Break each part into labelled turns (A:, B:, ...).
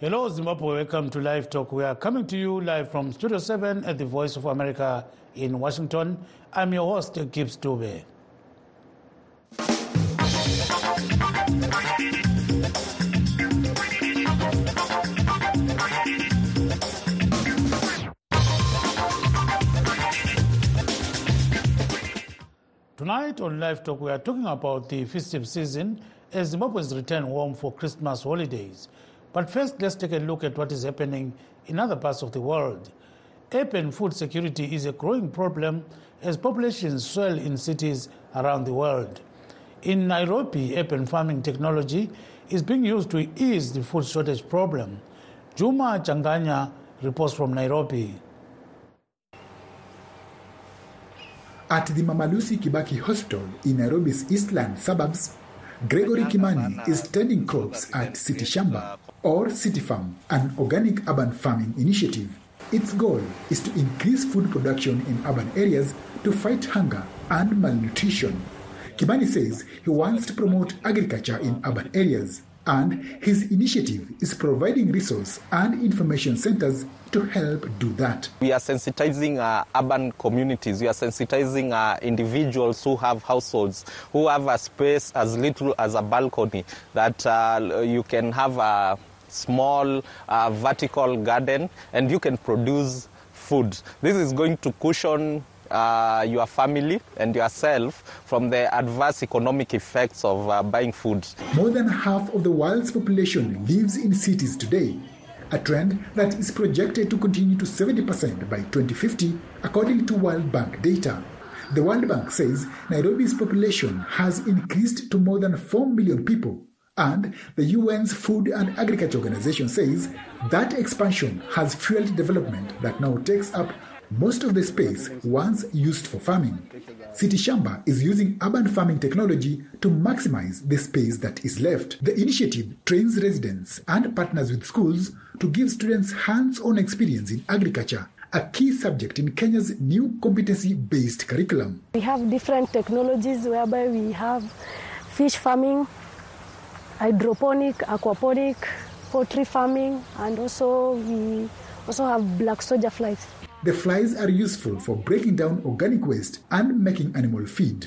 A: Hello, Zimbabwe. Welcome to Live Talk. We are coming to you live from Studio 7 at the Voice of America in Washington. I'm your host, Gibbs Dube. Tonight on Live Talk, we are talking about the festive season as Zimbabweans return home for Christmas holidays. But first, let's take a look at what is happening in other parts of the world. Urban food security is a growing problem as populations swell in cities around the world. In Nairobi, urban farming technology is being used to ease the food shortage problem. Juma Changanya reports from Nairobi.
B: At the Mamalusi Kibaki Hospital in Nairobi's Eastland suburbs, Gregory Kimani is tending crops at City Shamba or City Farm, an organic urban farming initiative. Its goal is to increase food production in urban areas to fight hunger and malnutrition. Kimani says he wants to promote agriculture in urban areas, and his initiative is providing resource and information centers to help do that.
C: We are sensitizing uh, urban communities. We are sensitizing uh, individuals who have households, who have a space as little as a balcony, that uh, you can have a small uh, vertical garden and you can produce food. This is going to cushion. Uh, your family and yourself from the adverse economic effects of uh, buying food.
B: More than half of the world's population lives in cities today, a trend that is projected to continue to 70% by 2050, according to World Bank data. The World Bank says Nairobi's population has increased to more than 4 million people, and the UN's Food and Agriculture Organization says that expansion has fueled development that now takes up most of the space once used for farming. City Shamba is using urban farming technology to maximize the space that is left. The initiative trains residents and partners with schools to give students hands on experience in agriculture. A key subject in Kenya's new competency based curriculum.
D: We have different technologies whereby we have fish farming, hydroponic, aquaponic, poultry farming, and also we also have black soldier flies.
B: The flies are useful for breaking down organic waste and making animal feed.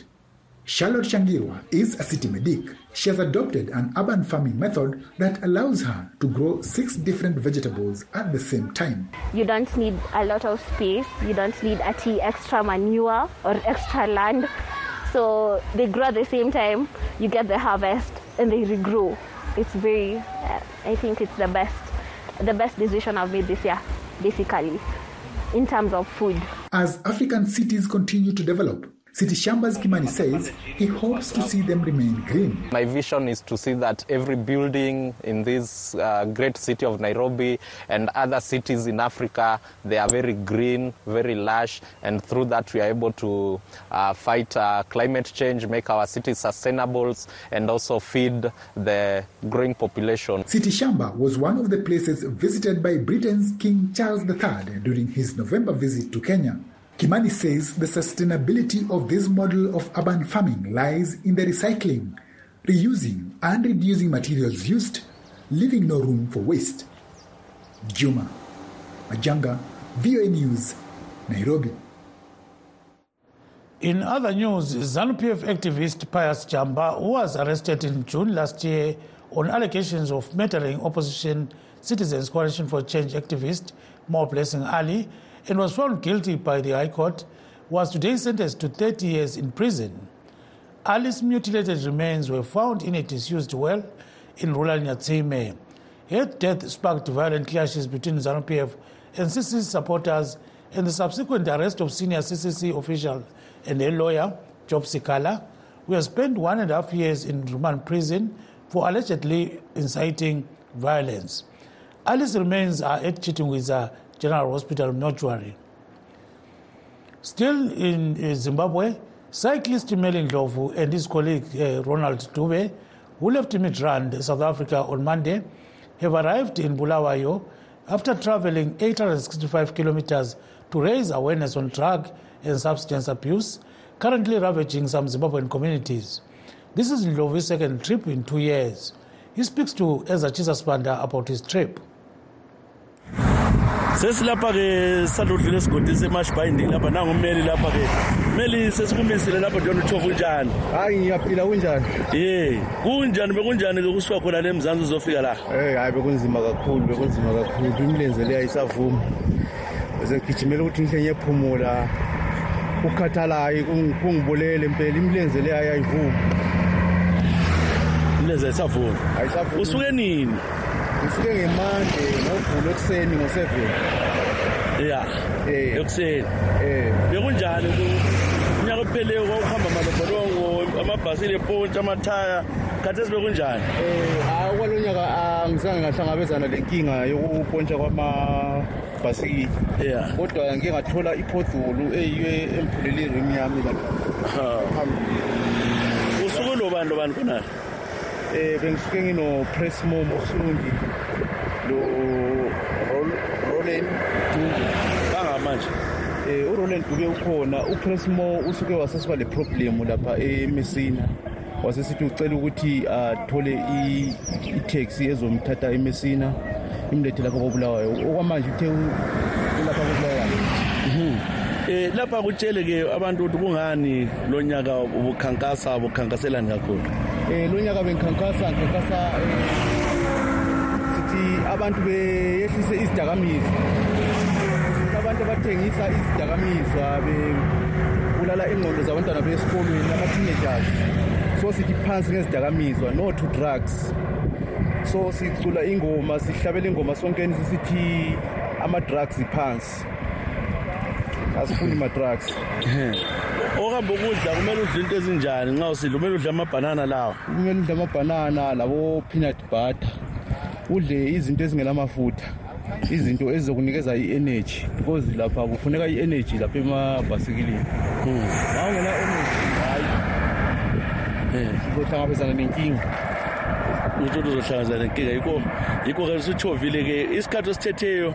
B: Charlotte Shangirwa is a city medic. She has adopted an urban farming method that allows her to grow six different vegetables at the same time.
E: You don't need a lot of space, you don't need ati extra manure or extra land. So they grow at the same time, you get the harvest and they regrow. It's very, uh, I think it's the best, the best decision I've made this year, basically in terms of food.
B: As African cities continue to develop, City Shambas Kimani says he hopes to see them remain green.
C: My vision is to see that every building in this uh, great city of Nairobi and other cities in Africa, they are very green, very lush, and through that we are able to uh, fight uh, climate change, make our cities sustainable, and also feed the growing population.
B: City Shamba was one of the places visited by Britain's King Charles III during his November visit to Kenya. Kimani says the sustainability of this model of urban farming lies in the recycling, reusing, and reducing materials used, leaving no room for waste. Juma Majanga, VOA News, Nairobi.
A: In other news, ZANU PF activist Pius Jamba was arrested in June last year on allegations of murdering opposition Citizens Coalition for Change activist Mo Blessing Ali and was found guilty by the High Court, was today sentenced to 30 years in prison. Ali's mutilated remains were found in a disused well in rural Nyatsime. Her death sparked violent clashes between ZANU PF and CCC supporters, and the subsequent arrest of senior CCC official and a lawyer, Job Sikala, who has spent one and a half years in Ruman prison for allegedly inciting violence. Ali's remains are at Chitungwiza General Hospital mortuary. Still in uh, Zimbabwe, cyclist Melin Ndlovu and his colleague uh, Ronald Dube, who left Midrand, South Africa on Monday, have arrived in Bulawayo after traveling 865 kilometers to raise awareness on drug and substance abuse, currently ravaging some Zimbabwean communities. This is Ndlovu's second trip in two years. He speaks to Ezra Chisaswanda about his trip.
F: sesilapha-ke sadludlula esigodini semashibhayindini lapha nangummeli lapha-ke meli sesikumisile lapha dona uthofa unjani
G: hayi ngiyaphila kunjani
F: ye kunjani bekunjani-ke kusuka khona le mzansi uzofika la
G: Eh hayi bekunzima kakhulu bekunzima kakhulu imilenze leyo ayisavumi bezengigijimela ukuthi ngihle ngiyephumula ukukhathalayo kung- kungibolele impela imilenze leyo ayayivumi
F: mleza isavuni
G: ayisavumi
F: usuke nini
G: ngisuke ngemande ngovulo ekuseni ngo-seven
F: ya
G: Eh.
F: ekuseni
G: um
F: bekunjani ku- unyaka opheleyo kwakuhamba amalobholongo amabhasile epontshi amathaya khathesi bekunjani
G: um hayi okwalo nyaka angizange ngahlangabezana lenkinga yokupontsha kwamabhasikili
F: ya
G: kodwa ngike ngathola iphodulu eyiyo emphulele irim yami lapha phambili
F: usuke lobani lobani khonala
G: eh bengisuke ngino Pressmo Msundi lo Rol- Roland Duke
F: kangamanje
G: eh uRoland Duke ukhona uPressmo usuke wasesiba le problem lapha eMessina wasesithi ucela ukuthi athole i- i-taxi ezomthatha eMessina imlethe lapha kobulawayo okwamanje uthe u- ulapha kobulawayo
F: um lapha kutshele-ke abantu ukuthi kungani lo nyaka ubukhankasa bukhankaselani kakhulu
G: eh lo nyaka bengikhankasa ngikhankasa eh, sithi abantu beyehlise izidakamizwa abantu abathengisa izidakamizwa bebulala ingqondo zabantwana besikolweni ama-teenagers so sithi phansi ngezidakamizwa no to drugs so sicula ingoma sihlabela ingoma sonkeni sisithi ama-drugs phansi asifuni ma-drugs
F: okuhambe ukudla kumele udle into ezinjani nxa usidla kumele udle amabhanana lawa
G: kumele udle amabhanana labo peanut butter udle izinto ezingelamafutha izinto ezizokunikeza i-energy because lapha kufuneka i-energy lapha emabhasikilini ma ungena-energy hayi uzohlangabezana nenkinga
F: ukuthi uzohlangazana nenkinga yikho yikho-ke usutshovile-ke isikhathi esithetheyo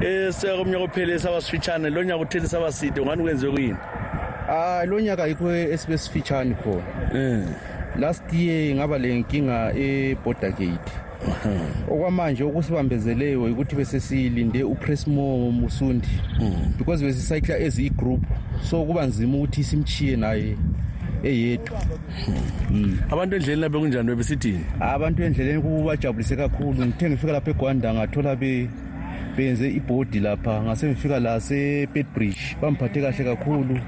F: esakomnyaka ophele saba sifitshane lo nyaka uthele saba side ungani kwenziwe kuyini
G: hayi Ah, lo nyaka yikho esibe sifitshane khona
F: um
G: last year ngaba le nkinga eborder gate okwamanje okusibambezeleyo ukuthi besesilinde upresmo musundi because besisayikla as igroup so kuba nzima ukuthi simchiye naye eyedwa
F: abantu endleleni labe kunjani bebesithini
G: abantu endleleni kubajabulise kakhulu ngithe ngifika lapha egwanda ngathola be benze ibhodi lapha ngase ngifika la sepedbridge bangiphathe kahle kakhulu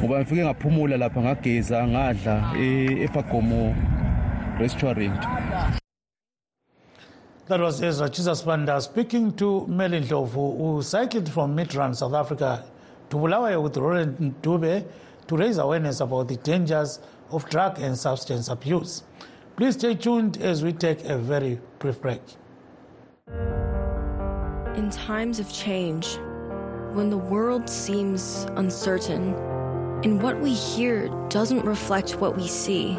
G: ngoba ngifike ngaphumula lapha ngageza ngadla e- epagomo restaurant
A: That was Ezra Jesus Banda speaking to Melin Ndlovu, who cycled from Midrand, South Africa, to Bulawayo with Roland Dube to raise awareness about the dangers of drug and substance abuse. Please stay tuned as we take a very brief break.
H: In times of change, when the world seems uncertain, and what we hear doesn't reflect what we see,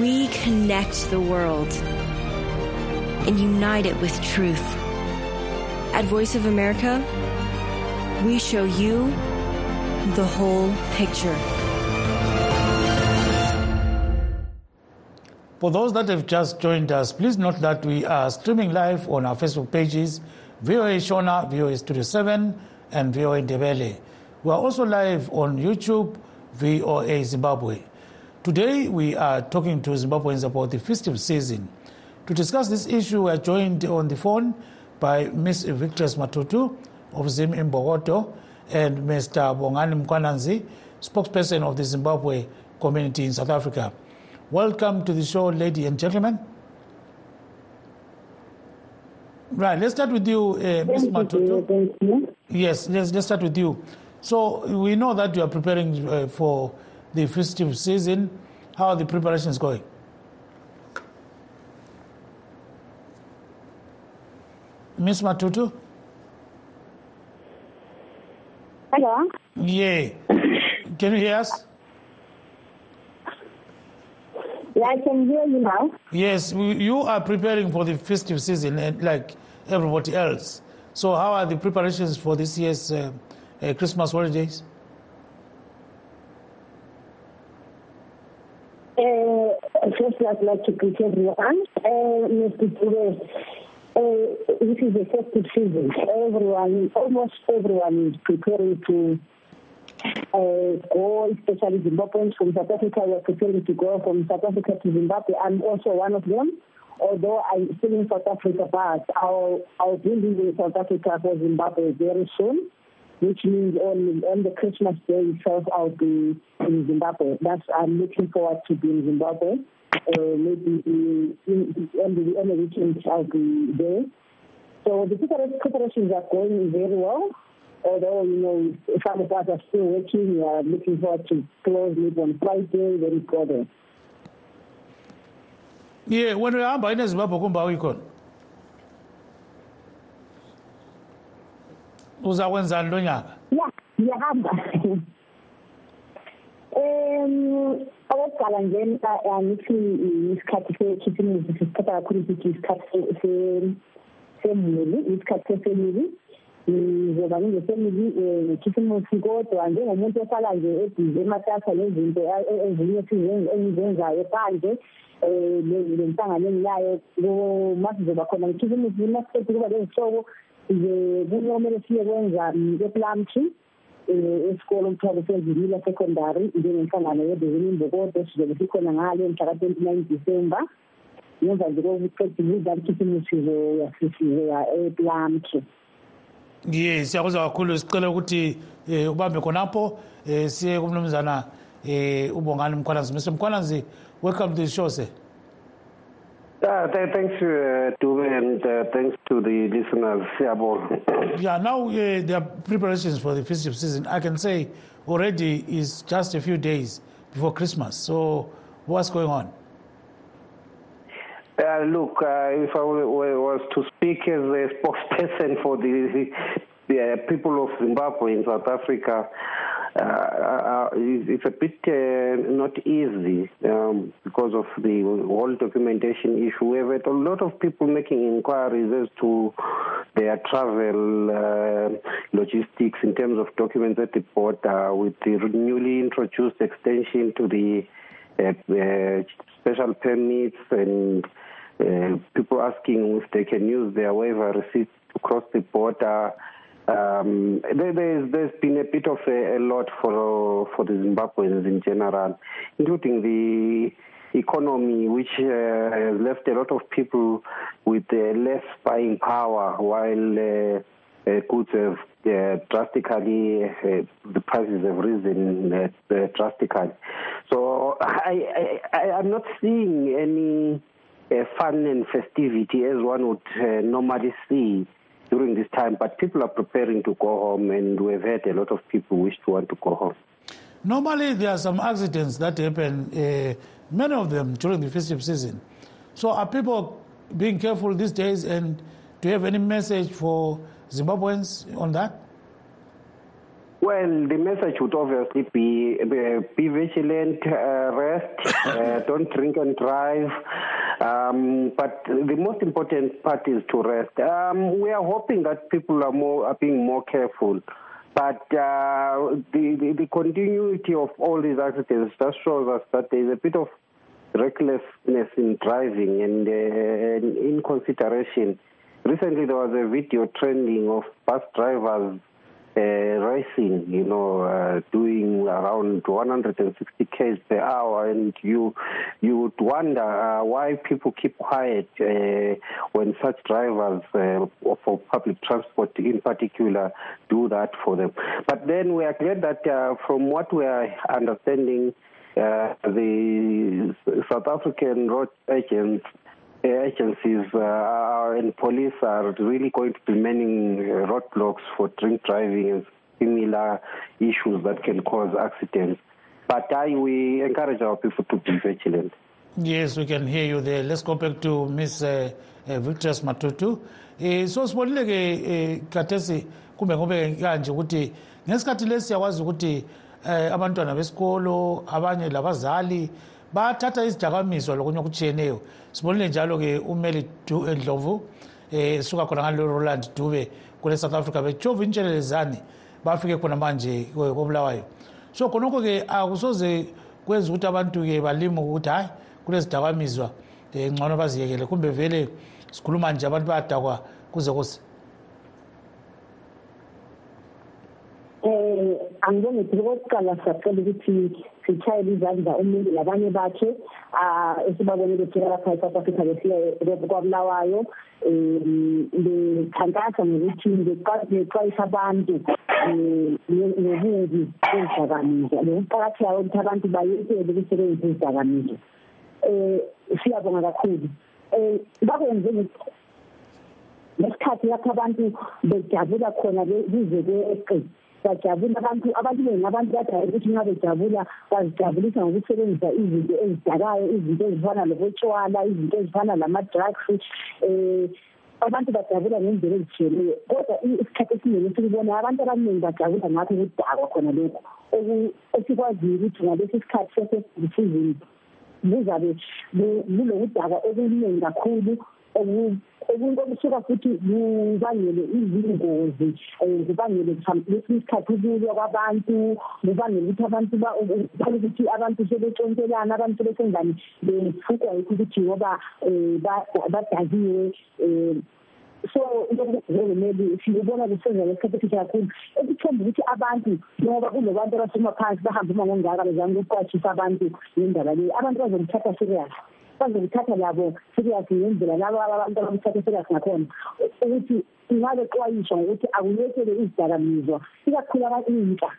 H: We connect the world and unite it with truth. At Voice of America, we show you the whole picture.
A: For those that have just joined us, please note that we are streaming live on our Facebook pages, VOA Shona, VOA Studio 7, and VOA Ndebele. We are also live on YouTube, VOA Zimbabwe. Today, we are talking to Zimbabweans about the festive season. To discuss this issue, we are joined on the phone by Ms. Victress Matutu of Zim in Bogoto and Mr. Bongani Mkwananzi, spokesperson of the Zimbabwe community in South Africa. Welcome to the show, ladies and gentlemen. Right, let's start with you, uh, Ms. Matutu. Yes, let's, let's start with you. So we know that you are preparing uh, for the festive season. How are the preparations going? Miss Matutu?
I: Hello.
A: Yeah. Can you hear us?
I: Yeah, I can hear you now.
A: Yes, we- you are preparing for the festive season and like everybody else. So, how are the preparations for this year's uh, uh, Christmas holidays?
I: Uh, first, I'd like to greet everyone. Uh, Mr. Dube, uh, this is the festive season. Everyone, almost everyone is preparing to uh, go, especially Zimbabweans from South Africa. We are preparing to go from South Africa to Zimbabwe. I'm also one of them, although I'm still in South Africa, but I'll, I'll be leaving South Africa for Zimbabwe very soon. which means on on the Christmas day itself I'll be in Zimbabwe. That's I'm looking forward to be in Zimbabwe. Uh, maybe in, in, on the on the weekend I'll be there. So the prepara- preparations are going very well. Although you know some of us are still working, we are looking forward to close maybe on Friday, then go there.
A: Yeah, when we are by Zimbabwe, kumba weekend. uzakwenzani lo nyaka
I: Yeah, ngiyahamba um okokuqala nje mhla- angithi i- isikhathi sekhithimizi sisithatha kakhulu ukuthi isikhathi se- se- semuli isikhathi sefemili ngizoba nginefemili um ngekhisimusi kodwa njengomuntu ohlala nje ebhizi ematasa nezinto a- e- ezinye sizen- engizenzayo phandle um lenhlangano engilayo ko- ma sizoba khona ngekhisimusi masiqeda kuba lezihloko ze- kumele siye kwenza eplumtree um esikolo kuthiwa kusezilila secondary njengenhlangano yebhekini imbokodo sizobe sikhona ngale mhla ka-twenty nine december ngemva nje kokuqeda ukukhisimusizo yasisizoya eplumtree
A: ye siyakuzwa kakhulu sicela ukuthi um ubambe khonapho um siye kumnumzana um ubongani mkhwalanzi mr mkhwalanzi welcome to the show sir
G: Uh, th- thanks, uh, Dube, and uh, thanks to the listeners. Siyabonga.
A: Yeah, now uh, there are preparations for the festive season. I can say already is just a few days before Christmas. So what's going on?
G: Uh, look, uh, if I w- w- was to speak as a spokesperson for the, the uh, people of Zimbabwe in South Africa, uh, uh, it's it's a bit uh, not easy um, because of the whole documentation issue. We have had a lot of people making inquiries as to their travel uh, logistics in terms of documents at the border with the newly introduced extension to the uh, uh, special permits and uh, people asking if they can use their waiver receipts to cross the border. Um, there, there's, there's been a bit of a, a lot for for the Zimbabweans in general, including the economy, which uh, has left a lot of people with uh, less buying power, while uh, uh, goods have uh, drastically, uh, the prices have risen uh, uh, drastically. So I, I, I, I'm not seeing any uh, fun and festivity as one would uh, normally see during this time, but people are preparing to go home, and we've had a lot of people wish to want to go home.
A: Normally there are some accidents that happen, uh, many of them during the festive season. So are people being careful these days? And do you have any message for Zimbabweans on that?
G: Well, the message would obviously be uh, be vigilant, uh, rest, uh, don't drink and drive. Um, but the most important part is to rest. Um, we are hoping that people are more are being more careful. But uh, the, the the continuity of all these accidents just shows us that there is a bit of recklessness in driving and, uh, and in consideration. Recently, there was a video trending of bus drivers uh, racing, you know, uh, doing around 160 k's per hour, and you you would wonder uh, why people keep quiet uh, when such drivers uh, for public transport, in particular, do that for them. But then we are glad that uh, from what we are understanding uh, the South African road agents, uh, agencies uh, are- and police are really going to be manning uh, roadblocks for drink driving and similar issues that can cause accidents. But I, we encourage our people to be vigilant.
A: Yes, we can hear you there. Let's go back to Ms. Uh, uh, Victorious Matutu. Eh so sibonile ke kathesi kumbe ngobe kanje ukuthi ngesikhathi lesi yakwazi ukuthi eh abantwana besikolo abanye labazali bathatha izidakamizwa lokunye okutshiyeneyo sibonile njalo ke umeli Du Endlovu eh suka khona ngalo Roland Dube kule South Africa bejova intshelelezane bafike khona manje kobulawayo so khonokho ke akusoze kwenza ukuthi abantu ke balime ukuthi hayi kulezidakamizwa um ngcono baziyekele kumbe vele sikhuluma nje abantu bayadakwa kuze kuse
I: um angibone phile kokuqala siyacela ukuthi sitshayele izandla umuntu labanye bakhe um esibabone befika lapha e-south africa befika kwabulawayo um bekhankasa ngokuthi bexwayisa abantu um ngobubi bezidakamizwa nokuqakatheka kokuthi abantu bayekele ukusebenzisa izidakamizwa um siyabonga kakhulu um bakwenze ngesikhathi lapho abantu bejabula khona kuze kweqe bajabula abantu abantu bengi abantu bajayela ukuthi nxa bejabula bazijabulisa ngokusebenzisa izinto ezidakayo izinto ezifana lobotshwala izinto ezifana lama-drugs um abantu bajabula ngendlela ezitshiyeneyo kodwa isikhathi esiningi esikubona abantu abaningi bajabula ngakho ukudakwa khona lokhu esikwaziyo ukuthi ngalesi sikhathi sesesisizini buzabe kulokudaka okuningi kakhulu okusuka futhi kubangele izingozi um kubangele kwesinye isikhathi ukulwa kwabantu kubangele ukuthi abantu bale ukuthi abantu sebetshontshelana abantu sebesenzani befukwa yikho ukuthi ngoba um badakiwe um so lokuzomeli sibona kusenza lesikhathi esisha kakhulu ekuthemba ukuthi abantu ngoba kunobantu abasuma phansi bahambe uma ngongaka bezama ukuqwashisa abantu ngendaba leyi abantu bazokuthatha serious bazokuthatha labo serious ngendlela labo abantu abakuthatha serious ngakhona ukuthi ingabexwayiswa ngokuthi akuyekele izidakamizwa ikakhulu abaintsha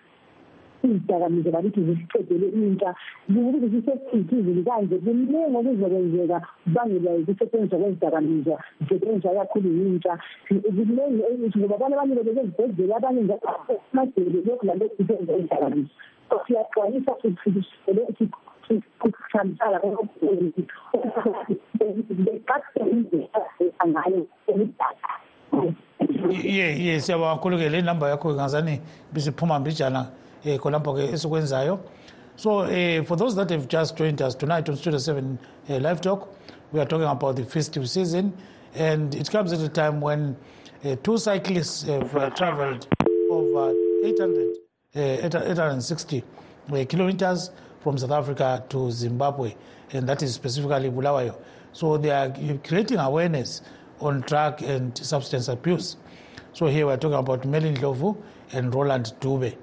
I: izidakamizwa bakithi zisicedele intsha ukuthi zisesithizini kanje kuningi okuzokwenzeka kubangelwa yikusetshenziswa kwezidakamizwa zisetshenziswa kakhulu yintsha kuningi ngoba abanye abanye bebeke ezibhedlela abanye njalomadele lokhu lanto kusetshenziswa kwezidakamizwa so siyaxwayisa sikhambisana kokuthi beqaqe indlela ngayo ukudala
A: ye ye siyabonga kakhulu ke le namba yakho ngazani bisiphuma mbijana eh, khonapho-ke esikwenzayo so uh, for those that have just joined us tonight on studio 7 uh, live talk we are talking about the festive season and it comes at a time when uh, two cyclists have uh, traveled over 800, uh, 860 uh, kilometers from south africa to zimbabwe and that is specifically bulawayo so they are creating awareness on drug and substance abuse so here we are talking about melin Lovu and roland dube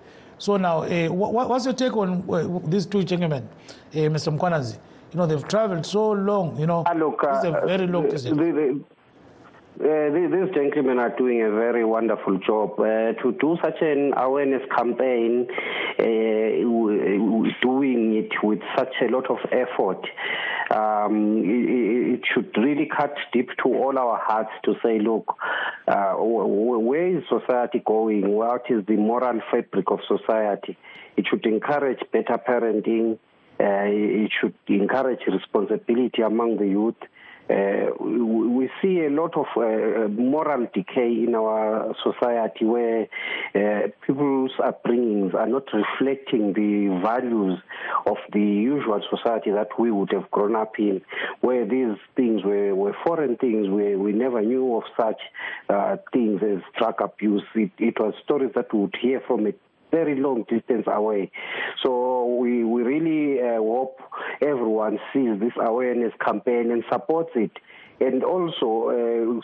A: So now, uh, what, what's your take on uh, these two gentlemen, uh, Mr. Mkwanazi? You know, they've traveled so long, you know,
G: Look,
A: it's a very long
G: the,
A: distance.
G: the, uh, the- these gentlemen are doing a very wonderful job. Uh, to do such an awareness campaign, uh, w- w- doing it with such a lot of effort, um, i- i- it should really cut deep to all our hearts to say, look, uh, wh- wh- where is society going? What is the moral fabric of society? It should encourage better parenting. Uh, it should encourage responsibility among the youth uh, we we see a lot of uh, moral decay in our society where uh, people's upbringings are not reflecting the values of the usual society that we would have grown up in, where these things were, were foreign things, where we never knew of such uh, things as drug abuse. It, it was stories that we would hear from a very long distance away. So we, we really uh, hope everyone sees this awareness campaign and supports it. And also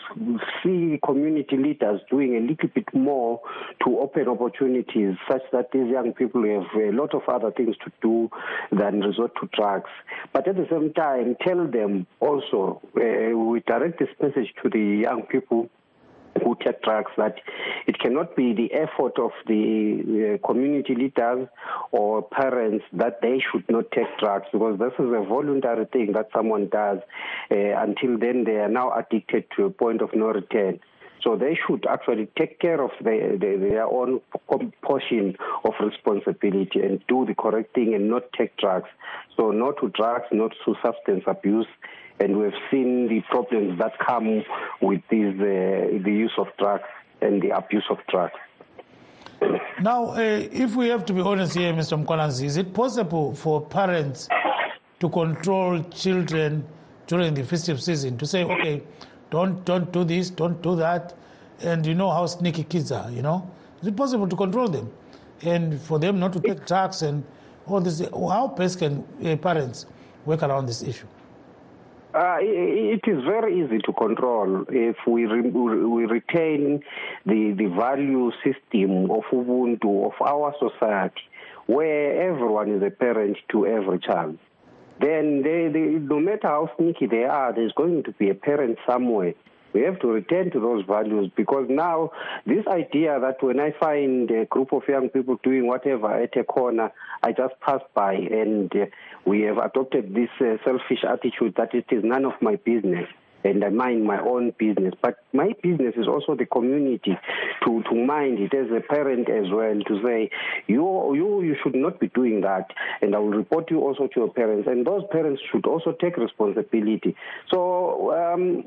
G: uh, see community leaders doing a little bit more to open opportunities such that these young people have a lot of other things to do than resort to drugs. But at the same time, tell them also, uh, we direct this message to the young people who take drugs that it cannot be the effort of the uh, community leaders or parents that they should not take drugs because this is a voluntary Eh, thing that someone does uh, until then they are now addicted to a point of no return So they should actually take care of the, the, their own p- portion of responsibility and do the correct thing and not take drugs. So not to drugs, not to substance abuse. And we've seen the problems that come with these, uh, the use of drugs and the abuse of drugs.
A: Now, uh, if we have to be honest here, Mr. Mkwalanzi, is it possible for parents to control children during the festive season to say, okay, don't don't do this, don't do that, and you know how sneaky kids are. You know, is it possible to control them, and for them not to take drugs and all this? How best can uh, parents work around this issue?
G: Uh, it, it is very easy to control if we re, we retain the the value system of Ubuntu of our society, where everyone is a parent to every child. Then they, they, no matter how sneaky they are, there's going to be a parent somewhere. We have to return to those values because now this idea that when I find a group of young people doing whatever at a corner, I just pass by and uh, we have adopted this uh, selfish attitude that it is none of my business and I mind my own business. But my business is also the community to, to mind it as a parent as well to say, you, you, you should not be doing that. And I will report you also to your parents. And those parents should also take responsibility. So, um,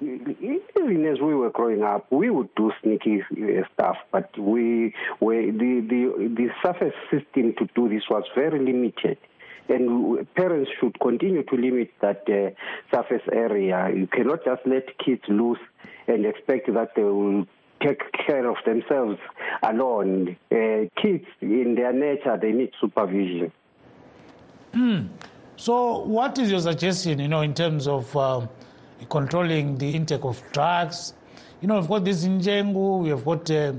G: even as we were growing up, we would do sneaky uh, stuff, but we, we the, the, the surface system to do this was very limited and parents should continue to limit that uh, surface area. You cannot just let kids loose and expect that they will take care of themselves alone. Uh, kids, in their nature, they need supervision.
A: Mm. So, what is your suggestion? You know, in terms of um, controlling the intake of drugs. You know, we've got this Njengu, we've got uh,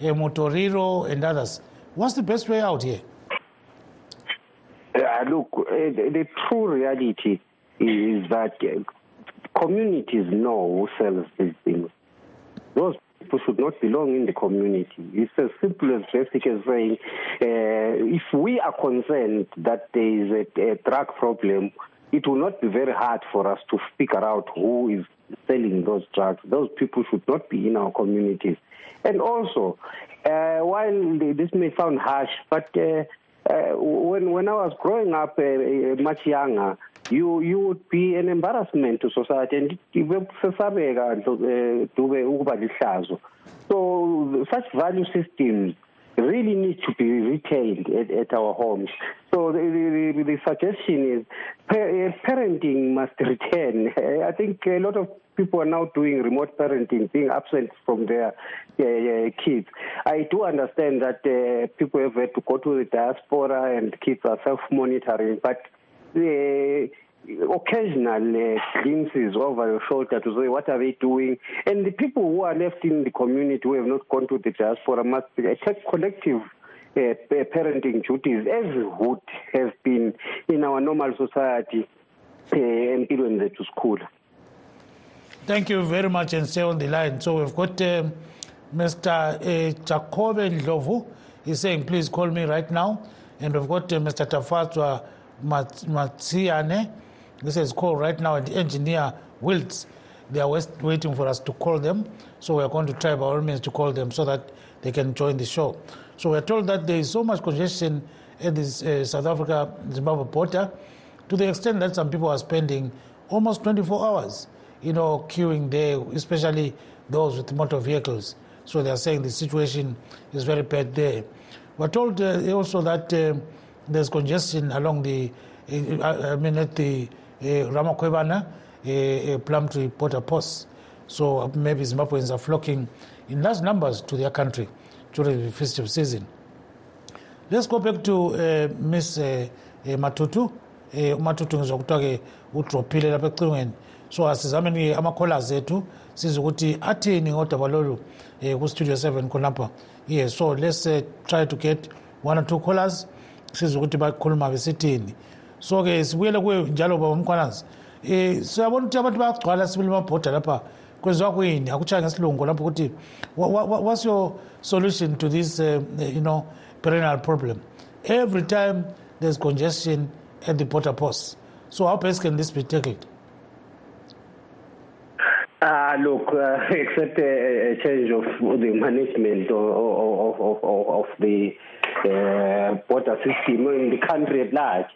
A: Motoriro, and others. What's the best way out here?
G: Uh, look, uh, the, the, true reality is that uh, communities know who sells these things. Those people should not belong in the community. It's as simple as basic as saying, uh, if we are concerned that there is a, a drug problem, it will not be very hard for us to figure out who is selling those drugs. Those people should not be in our communities. And also, Uh, while this may sound harsh, but uh, when when I was growing up, uh, much younger, you you would be an embarrassment to society, and kusesabeka dube uh, ukuba lihlazo. So such value systems really need to be retained at, at our homes. So the, the, the suggestion is uh, parenting must return. I think a lot of people are now doing remote parenting, being absent from their uh, kids. I do understand that uh, people have had to go to the diaspora and kids are self-monitoring, but the Eh, occasional uh, glimpses over your shoulder to say what are they doing and the people who are left in the community who have not gone to the diaspora must take collective uh, parenting duties as would have been in our normal society empilweni uh, zethu sikhula
A: Thank you very much and stay on the line. So we've got um, Mr. Uh, Jacobe Ndlovu. He's saying, please call me right now. And we've got uh, Mr. Tafatwa Mat- Matsiane. He says, call right now. And the engineer Wilts, they are west- waiting for us to call them. So we are going to try by all means to call them so that they can join the show. So we're told that there is so much congestion at this uh, South Africa Zimbabwe border to the extent that some people are spending almost 24 hours you know, queuing there, especially those with motor vehicles. So they are saying the situation is very bad there. We're told uh, also that uh, there's congestion along the, uh, I mean, at the uh, Ramakwebana, uh, uh, Plumtree border post. So maybe Zimbabweans are flocking in large numbers to their country during the festive season. Let's go back to uh, Ms. Uh, Matutu. Uh, Matutu ngizwa kuthiwa-ke udrophile lapha ecingweni so asizameni ama-callers ethu size ukuthi athini ngodaba lolu um ku-studio seven khonapha ye so let's uh, try to get one or two callers size ukuthi bakhuluma besithini so-ke sibuyele kuwe njalo baba mkhwanazi um siyabona ukuthi abantu bayagcwala sibili amabhoda lapha kwenziwa kuyini akutshaya ngesilungu lapho ukuthi what's your solution to this uh, you know perennial problem every time there's congestion at the border post so how best can this be tackled
G: Uh, look, uh, except a, a change of the management of, of, of, of of the uh, border system in the country at large,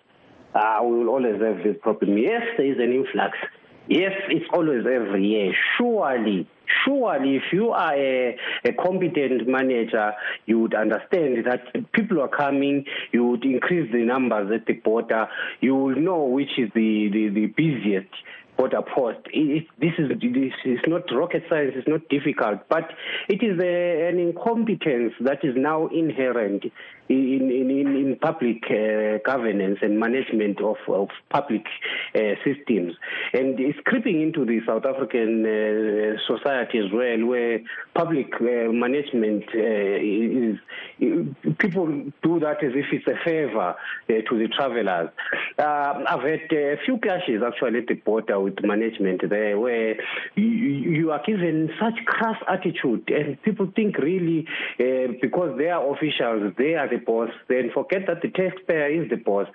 G: uh, we will always have this problem. Yes, there is an influx. Yes, it's always every year. Surely, surely, if you are a, a competent manager, you would understand that people are coming. You would increase the numbers at the border. You will know which is the, the, the busiest border post. It, it, this is this is not rocket science. It's not difficult, but it is a, an incompetence that is now inherent in in, in, in public uh, governance and management of, of public uh, systems, and it's creeping into the South African uh, society as well, where public uh, management uh, is, people do that as if it's a favor uh, to the travelers. Um, I've had a few clashes actually at the border with management there, where you, you are given such crass attitude, and people think really uh, because they are officials, they are the boss, then forget that the taxpayer is the boss.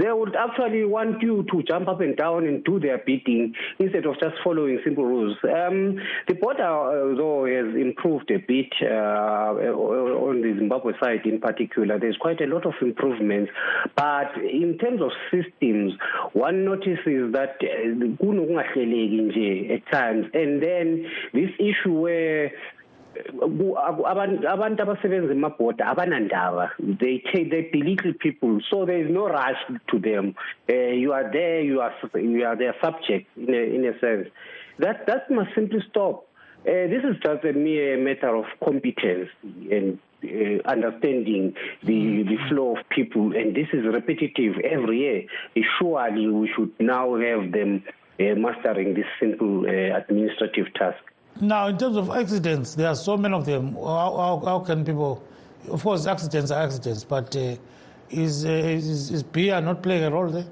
G: They would actually want you to jump up and down and do their bidding instead of just following simple rules. Um, the border, uh, though, has improved a bit uh, on the Zimbabwe side in particular. There's quite a lot of improvements, but in terms of systems, one notices that kunokungahleleki nje at times, and then this issue where uh, abantu abasebenza emabhoda abanandaba they take they belittle people so there is no rush to them uh, you are there you are you are their subject in a, in a sense that that must simply stop uh, this is just a mere matter of competence and uh, understanding the, the flow of people, and this is repetitive every year. Surely we should now have them uh, mastering this simple uh, administrative task.
A: Now, in terms of accidents, there are so many of them. How, how, how can people? Of course, accidents are accidents, but uh, is, uh, is is beer not playing a role there?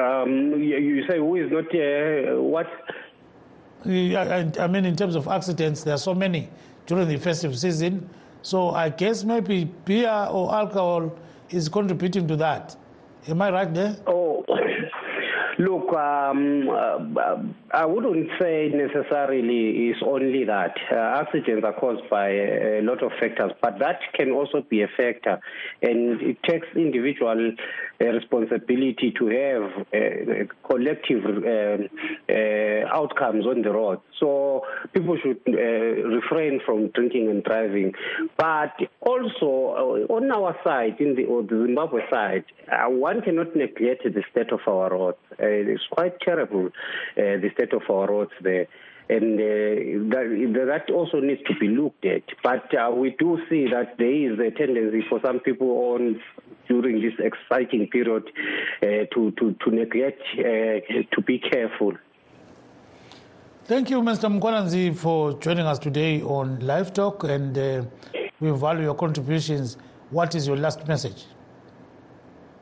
G: Um, you, you say who is not uh, what?
A: Yeah, I, I mean, in terms of accidents, there are so many during the festive season. So I guess maybe beer or alcohol is contributing to that. Am I right there?
G: Oh, look, um, uh, I wouldn't say necessarily it's only that. Uh, accidents are caused by uh, a lot of factors, but that can also be a factor. And it takes individual uh, responsibility to have uh, collective uh, uh, outcomes on the road. So people should uh, refrain from drinking and driving. But also, uh, on our side, in the, or the Zimbabwe side, uh, one cannot neglect the state of our roads. Uh, it's quite terrible, uh, the state of our roads there. And uh, that, that also needs to be looked at. But uh, we do see that there is a tendency for some people on during this exciting period uh, to, to, to neglect, uh, to be careful.
A: Thank you, Mr. Mkwananzi, for joining us today on Live Talk, and uh, we value your contributions. What is your last message?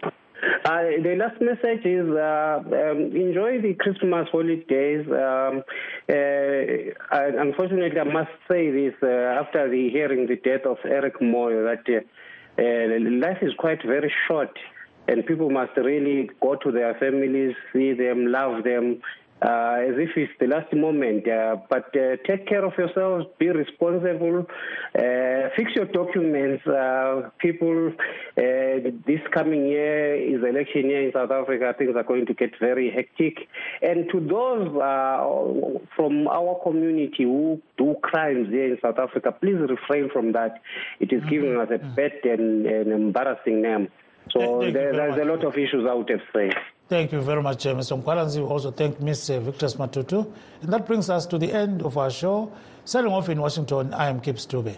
G: Uh, the last message is uh, um, enjoy the Christmas holidays. Um, uh, I, unfortunately, I must say this uh, after the hearing the death of Eric Moyo that uh, uh, life is quite very short, and people must really go to their families, see them, love them. Uh, as if it's the last moment. Uh, but uh, take care of yourselves, be responsible, uh, fix your documents, uh, people. uh, this coming year is election year in South Africa. Things are going to get very hectic. And to those uh, from our community who do crimes here in South Africa, please refrain from that. It
A: Mm-hmm.
G: is giving us a bad and, and embarrassing name. So
A: Thank you
G: there,
A: very
G: there's a
A: much.
G: lot of issues I would have said.
A: Thank you very much, uh, Mr. Mkwalanzi. We also thank Ms. Victor Matutu. And that brings us to the end of our show. Selling off in Washington, I am Kip Stube.